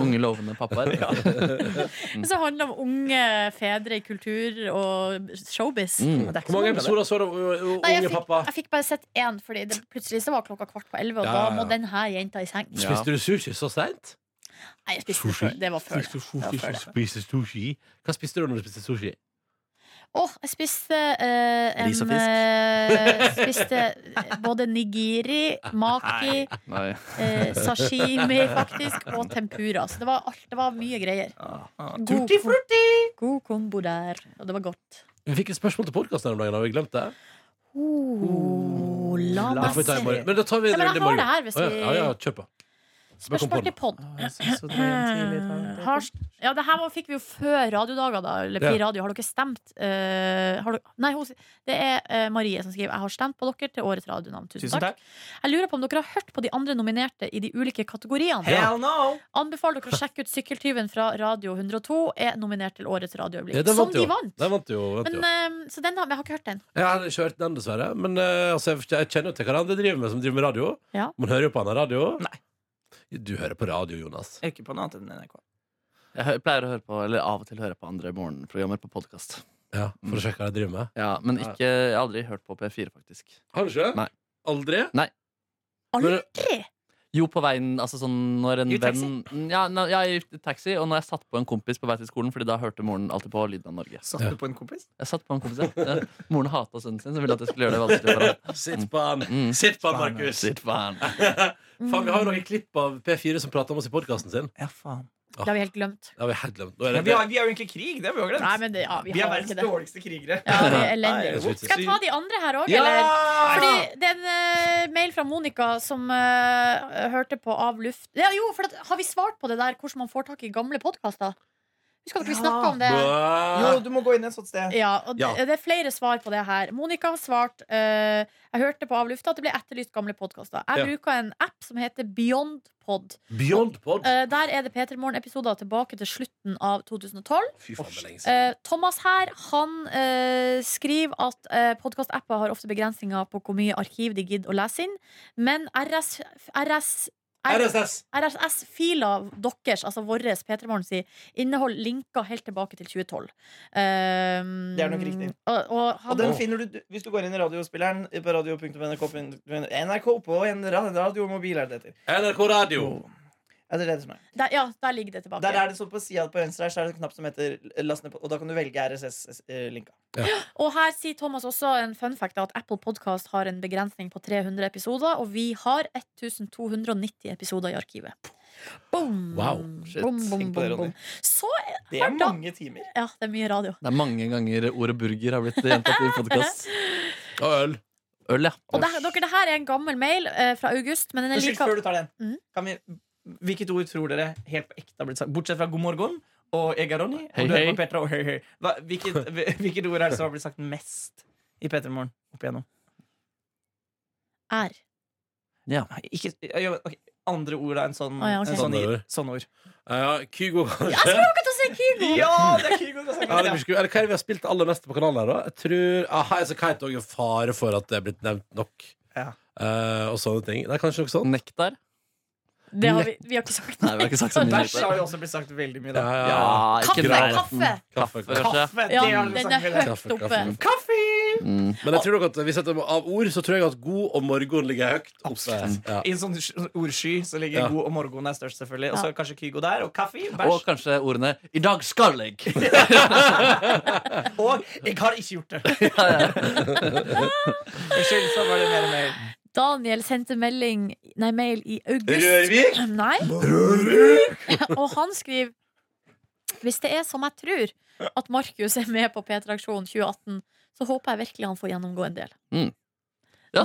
Unge, lovende pappaer.
Men så handler det om unge fedre i kultur og showbiz.
Mm.
Det er ikke
Hvor
så
mange
av det.
episoder så du av uh, uh,
Nei, jeg,
Unge
fikk,
pappa?
jeg fikk bare sett én, Fordi det, plutselig så var klokka kvart på elleve, og
Ja,
da
ja, ja.
må den her jenta i seng.
Ja.
Spiste du sushi så seint?
Nei, jeg spiste det før. Det var før. det. Det var før det.
Spiste sushi? Hva spiste du når du spiste sushi?
Å, jeg spiste eh, en,
Ris og fisk.
eh, spiste både nigiri, maki,
Nei.
eh, sashimi faktisk, og tempura. Så det var, alt, det var mye greier.
Ah,
God
Tutti
kom-
frutti!
God kombo der. Og det var godt.
Vi fikk et spørsmål til podkasten her om dagen, har vi glemt det?
Oh, la
La
Det får
meg
vi ta i
se.
morgen. Men da tar vi
Ja, men
det i
jeg har
morgen.
det her hvis
Å, ja, ja, ja,
vi
kjør på. Bare kom på
Spørsmål
den.
til pod.
Har
Eh, Har, ja, det her var- fikk vi jo før radiodager, da. Eller
Ja.
Pi Radio. Har dere stemt? Eh, har dere, nei, hun, det er eh, Marie som skriver Jeg har stemt på dere til årets radionavn. Tusen,
Tusen
takk.
takk.
Jeg lurer på om dere har hørt på de andre nominerte i de ulike kategoriene.
Hell no!
Anbefaler dere å sjekke ut Sykkeltyven fra Radio 102. Er nominert til årets radioøyeblikk.
Ja, den
som
vant
de
jo.
vant!
Den vant jo. Vant jo.
Men, eh, så den har, men jeg har ikke hørt den.
Jeg har ikke hørt den, dessverre. Men eh, altså, jeg- jeg kjenner jo til hva han driver med, som driver med radio.
Ja.
Man hører jo på han har radio.
Nei.
Du hører på radio, Jonas.
Jeg er ikke på noe annet enn NRK.
Jeg hø- pleier å høre på, eller av og til høre på andre morgenprogrammer på podkast.
Ja,
Mm.
For å sjekke hva han driver med.
Ja, men ikke, jeg har aldri hørt på P4, faktisk.
Har du ikke?
Nei.
Aldri? Men-
Aldri!
Jo, på veien altså sånn når en
I taxi?
venn ja, nå- ja, i taxi. Og når jeg satt på en kompis på vei til skolen, Fordi da hørte moren alltid på Lyden av Norge.
Satt
Ja.
du på en kompis?
Jeg satt på en kompis, ja. ja. Moren hata sønnen sin, så ville at jeg skulle gjøre det vanskelig for ham.
Sitt på han!
Mm.
Sitt på han, Markus!
Sitt faen.
Faen, vi har
Mm.
jo noen klipp av P4 som prater om oss i podkasten sin.
Ja, faen.
Det har vi helt glemt.
Det har vi helt glemt. Nå er
Ja,
det
vi, har, vi har jo egentlig krig, det har vi jo glemt.
Nei, men det, ja, vi,
vi er
har
verdens
ikke det.
dårligste krigere.
Ja, vi er elendige.
Nei, det er
Skal jeg ta de andre her òg, eller?
Ja!
Fordi det er en eh, mail fra Monica som eh, hørte på Av luft ja, Jo, for at, har vi svart på det der hvordan man får tak i gamle podkaster? Husker dere vi
Ja.
snakka om det?
Jo,
Bæ!
du må gå inn et sånt sted.
Ja, og
Ja.
Det, det er flere svar på det her. Monica har svart eh, Jeg hørte på Av lufta at det ble etterlyst gamle podkaster. Jeg
Ja.
bruker en app som heter Beyondpod.
Beyond pod!
Eh, der er det P3 Morgen-episoder tilbake til slutten av 2012.
Fy faen, det er lenge siden.
Eh, Thomas her han eh, skriver at uh, podkast-apper har ofte begrensninger på hvor mye arkiv de gidder å lese inn, men RS, RS,
RSS!
RSS-fila deres, altså vår P3morgen si, inneholder linker helt tilbake til 2012. Eh,
Det er nok riktig.
Og, og
Og
han,
den finner du hvis du går inn i radiospilleren på radio.nrk NRK på en ra- radiomobil, er det det heter.
NRK Radio!
Mm.
Ja, det er det som er.
der, ja, der ligger det tilbake.
Der er det så på sida på venstre her, så er det en knapp som heter last ned på, og da kan du velge RSS-linka.
Og her sier Thomas også en fun fact da, at Apple Podcast har en begrensning på 300 episoder, og vi har 1290 episoder i arkivet. Boom!
Wow,
shit.
Boom, boom,
Tenk på det,
boom, boom.
Ronny.
Så
Det er mange timer.
Ja, det er mye radio.
Det er mange ganger ordet burger har blitt gjentatt i podkast.
Og øl.
Øl, ja.
Og det, her- dere, det her er en gammel mail eh, fra august, men den er
Unnskyld,
like
før du tar den.
Mhm.
Kan vi, hvilket ord tror dere helt på ekte har blitt sagt? Bortsett fra god morgen og egaroni.
Hei,
og du hører
hei.
på Petra og hei, hei. Hva, hvilket, hvilket ord er det som har blitt sagt mest i P3 Morgen opp igjennom?
er.
Nei, Ikke, ja, ok, andre ord er en sånn,
Å, ja, ok.
en sånn,
Sånne ord.
sånne ord.
Ja, Kygo,
Jeg
kanskje?
skulle akkurat til å si Kygo!
Ja, det er Kygo som har sagt
Ja, det
det.
blir sku- Eller hva er det vi har spilt aller mest på kanalen her, da? Jeg tror ah, Highas and Kite også er fare for at det er blitt nevnt nok.
Ja.
Eh, og sånne ting. Det er kanskje noe sånt.
Nektar.
Det har vi, vi har ikke sagt
Nei, vi har ikke sagt så mye.
Bæsj har jo også blitt sagt veldig mye, da.
Ja,
Kaffe!
ikke
Grav.
kaffe.
Kaffe,
Kaffe,
kanskje.
Kaffe!
Ja,
det har blitt
den er
sagt veldig mye.
høyt oppe.
Kaffe,
Kaffe!
Mm.
Men jeg tror nok at hvis jeg tar av ord, så tror jeg at god og morgen ligger høyt oppe. Ja.
I en sånn sj- ordsky så ligger
Ja.
god og morgen er størst, selvfølgelig. Og så
Ja.
er kanskje Kygo der, og kaffe,
Og
bæsj.
kanskje ordene 'i dag skal jeg'.
Og jeg har ikke gjort det. Unnskyld, så var det mer mail.
Daniel sendte melding, nei, mail i august.
Rørvik?
Nei. Og han skriver Hvis det er som jeg tror, at Markus er med på P-traksjon 2018, så håper jeg virkelig han får gjennomgå en del.
Ja,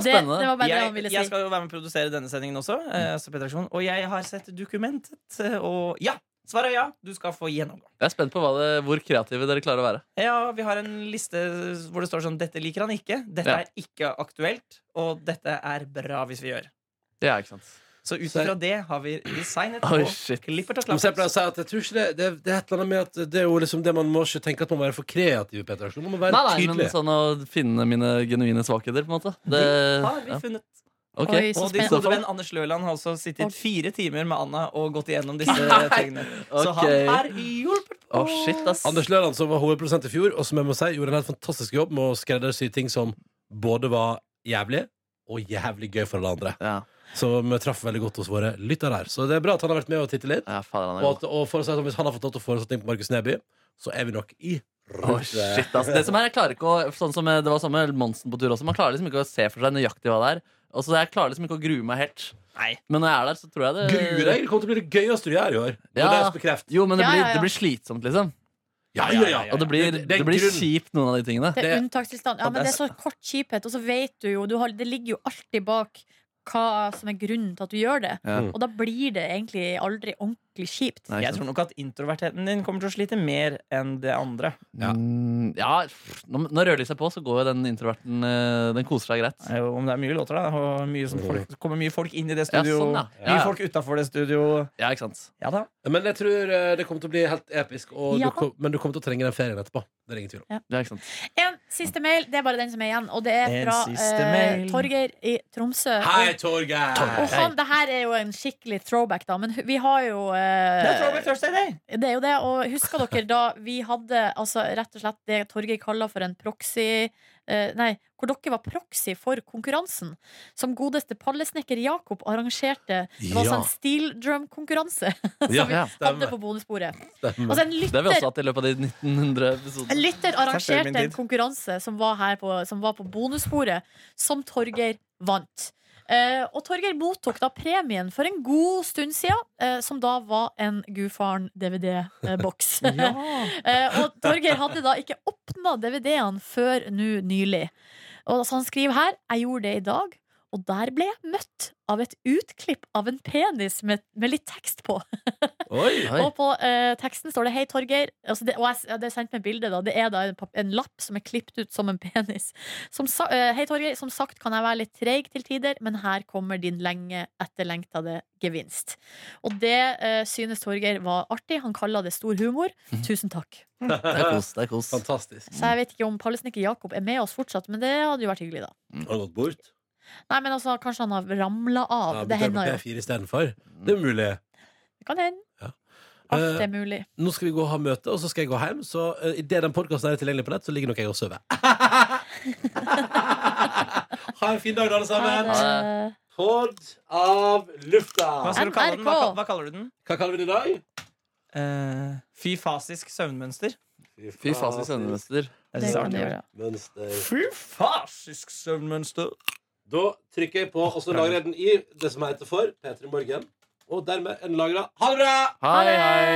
det,
spennende.
det var bare det han
Jeg,
ville si.
jeg skal jo være med å produsere denne sendingen også. eh, altså Peter Aksjon, og jeg har sett dokumentet, eh, og ja! Svaret er ja. Du skal få gjennomgå.
Jeg er spent på hva det, hvor kreative dere klarer å være.
Ja, Vi har en liste hvor det står sånn 'Dette liker han ikke', 'Dette
Ja.
er ikke aktuelt', og 'Dette er bra hvis vi gjør'.
Ja, ikke sant
Så ut
Så-
ifra det har vi designet
Oi,
og
shit.
klipper til
Men så jeg pleier å
klappet.
si at jeg tror ikke det, det, det er et eller annet med at det er jo liksom det man må ikke tenke at man må være for kreativ. Peter. Aksel. Man må være
Nei, nei, men
tydelig.
sånn å finne mine genuine svakheter, på en måte. Det,
Har vi
ja.
funnet.
Ok.
Oi, så
Og din
spennende.
gode venn Anders Løland har også
Og-
sittet fire timer med Anna og gått igjennom disse tingene. Så
Ok.
han har hjulpet på.
Å, shit, ass.
Anders Løland, som var hovedprodusent i fjor, og som jeg må si gjorde en helt fantastisk jobb med å skreddersy ting som både var jævlig og jævlig gøy for alle andre.
Ja,
Som traff veldig godt hos våre lyttere her. Så det er bra at han har vært med og tittet litt.
ja fader, han er
Og,
god.
at, og for å si det sånn, hvis han har fått lov til å foreslå ting på Markus Neby, så er vi nok i
Å, shit, ass. Det som er, jeg klarer ikke å Sånn som eh, det var samme Monsen på tur også. Man klarer liksom ikke å se for seg nøyaktig hva det er. Og så jeg klarer liksom ikke å grue meg helt.
Nei.
Men når jeg er der, så tror jeg det
Gruer deg! Det kommer til å bli det gøyeste du gjør i år.
Ja.
Når det er bekreft.
Jo, men det
Ja,
blir,
ja, ja.
det blir slitsomt, liksom.
Ja, ja, ja, ja.
Og det blir,
Det- det
det
er
blir
grunn.
kjipt, noen av de tingene.
Det er
Det-
unntakstilstand. Ja,
Og
men
det
det
er
er så kort kjiphet, og så vet du jo du har, Det ligger jo alltid bak hva som er grunnen til at du gjør det.
Mm.
Ja.
Og da blir det egentlig aldri ordentlig kjipt.
Nei, ikke
Jeg
sant.
tror nok at introvertheten din kommer til å slite mer enn det andre.
Ja.
Mm, ja, pff, når når rødlyset er på, så går jo den introverten eh, Den koser seg greit.
Det er jo- Om det er mye låter, da. Og mye som folk, det kommer mye folk inn i det
Ja,
studio.
sånn, ja.
Mye
Mm. Ja,
folk utafor det studio.
ja ikke sant.
Ja da.
Men jeg tror eh, det kommer til å bli helt episk, og
Ja.
du, kom- men du kommer til å trenge den ferien etterpå. Det er ingen tvil om.
Ja, ikke sant.
En siste mail, det er bare den som er igjen, og det er
En
fra
siste
eh,
mail.
Torgeir i Tromsø.
Hei, Torgeir!
Og han, det her er jo en skikkelig throwback, da, men hu- vi har jo eh,
Det er Throwback Thursday, det!
Det er jo det, og husker dere da vi hadde altså, rett og slett det Torgeir kaller for en proxy eh, Nei, hvor dere var proxy for konkurransen. Som godeste pallesnekker Jakob arrangerte. Det var altså
Ja.
en steel drum-konkurranse.
Ja,
Ja.
Hadde
stemmer.
på bonussporet.
stemmer.
Altså, en
Mm. Det har vi
lytter,
også hatt i løpet av de 1900 episodene.
en lytter
Takk for
arrangerte
min tid.
en konkurranse som var, her på, som var på bonussporet, som Torgeir vant. Eh, og Torgeir mottok da premien for en god stund siden, eh, som da var en Gudfaren-DVD-boks. Eh, og Torgeir hadde da ikke åpna DVD-ene før nå nylig. Og så han skriver her Jeg gjorde det i dag, og der ble jeg møtt av et utklipp av en penis med, med litt tekst på.
Oi!
Oi.
Og på eh, teksten står det 'Hei, Torgeir'. Altså det, og jeg, s- ja, det er sendt med bilde. da. Det er da en, pap- en lapp som er klippet ut som en penis. Som sa, eh, 'Hei, Torgeir. Som sagt kan jeg være litt treig til tider, men her kommer din lenge etterlengtede gevinst'. Og det eh, synes Torgeir var artig. Han kaller det stor humor. Tusen takk.
Det er kos. det er kos
Fantastisk.
Så jeg vet ikke om Pallesnikker Jakob er med oss fortsatt, men det hadde jo vært hyggelig, da.
Mm.
Har gått bort?
Nei, men altså, kanskje han har ramla av.
Ja,
det
bytter
hender
på
jo.
P4 istedenfor. Det er mulig.
Det kan hende.
Ja.
Alt
Eh,
er mulig.
Nå skal vi gå og ha møte, og så skal jeg gå hjem. Så uh, idet den podkasten er tilgjengelig på nett, så ligger nok jeg og sover. ha en fin dag, alle sammen.
Ha
men-
det.
Pod av lufta.
Hva skal du kalle den? Hva,
NRK.
hva kaller du den?
Hva kaller vi det i dag?
Eh, fyfasisk søvnmønster.
Fy faen, vi søvnmester.
Jeg
Det
synes
kan du
det er artig.
gjøre.
Mønster.
Fyfasisk søvnmønster.
Da trykker jeg på, og så lagrer jeg den i det som heter for P3 Morgen. Og dermed er den lagra. Ha det bra!
Hei, hei.